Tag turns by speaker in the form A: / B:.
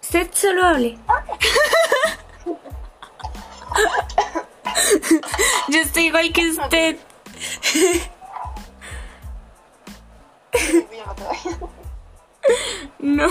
A: Sed saludable. Yo estoy igual que usted.
B: Estoy viva todavía.
A: No.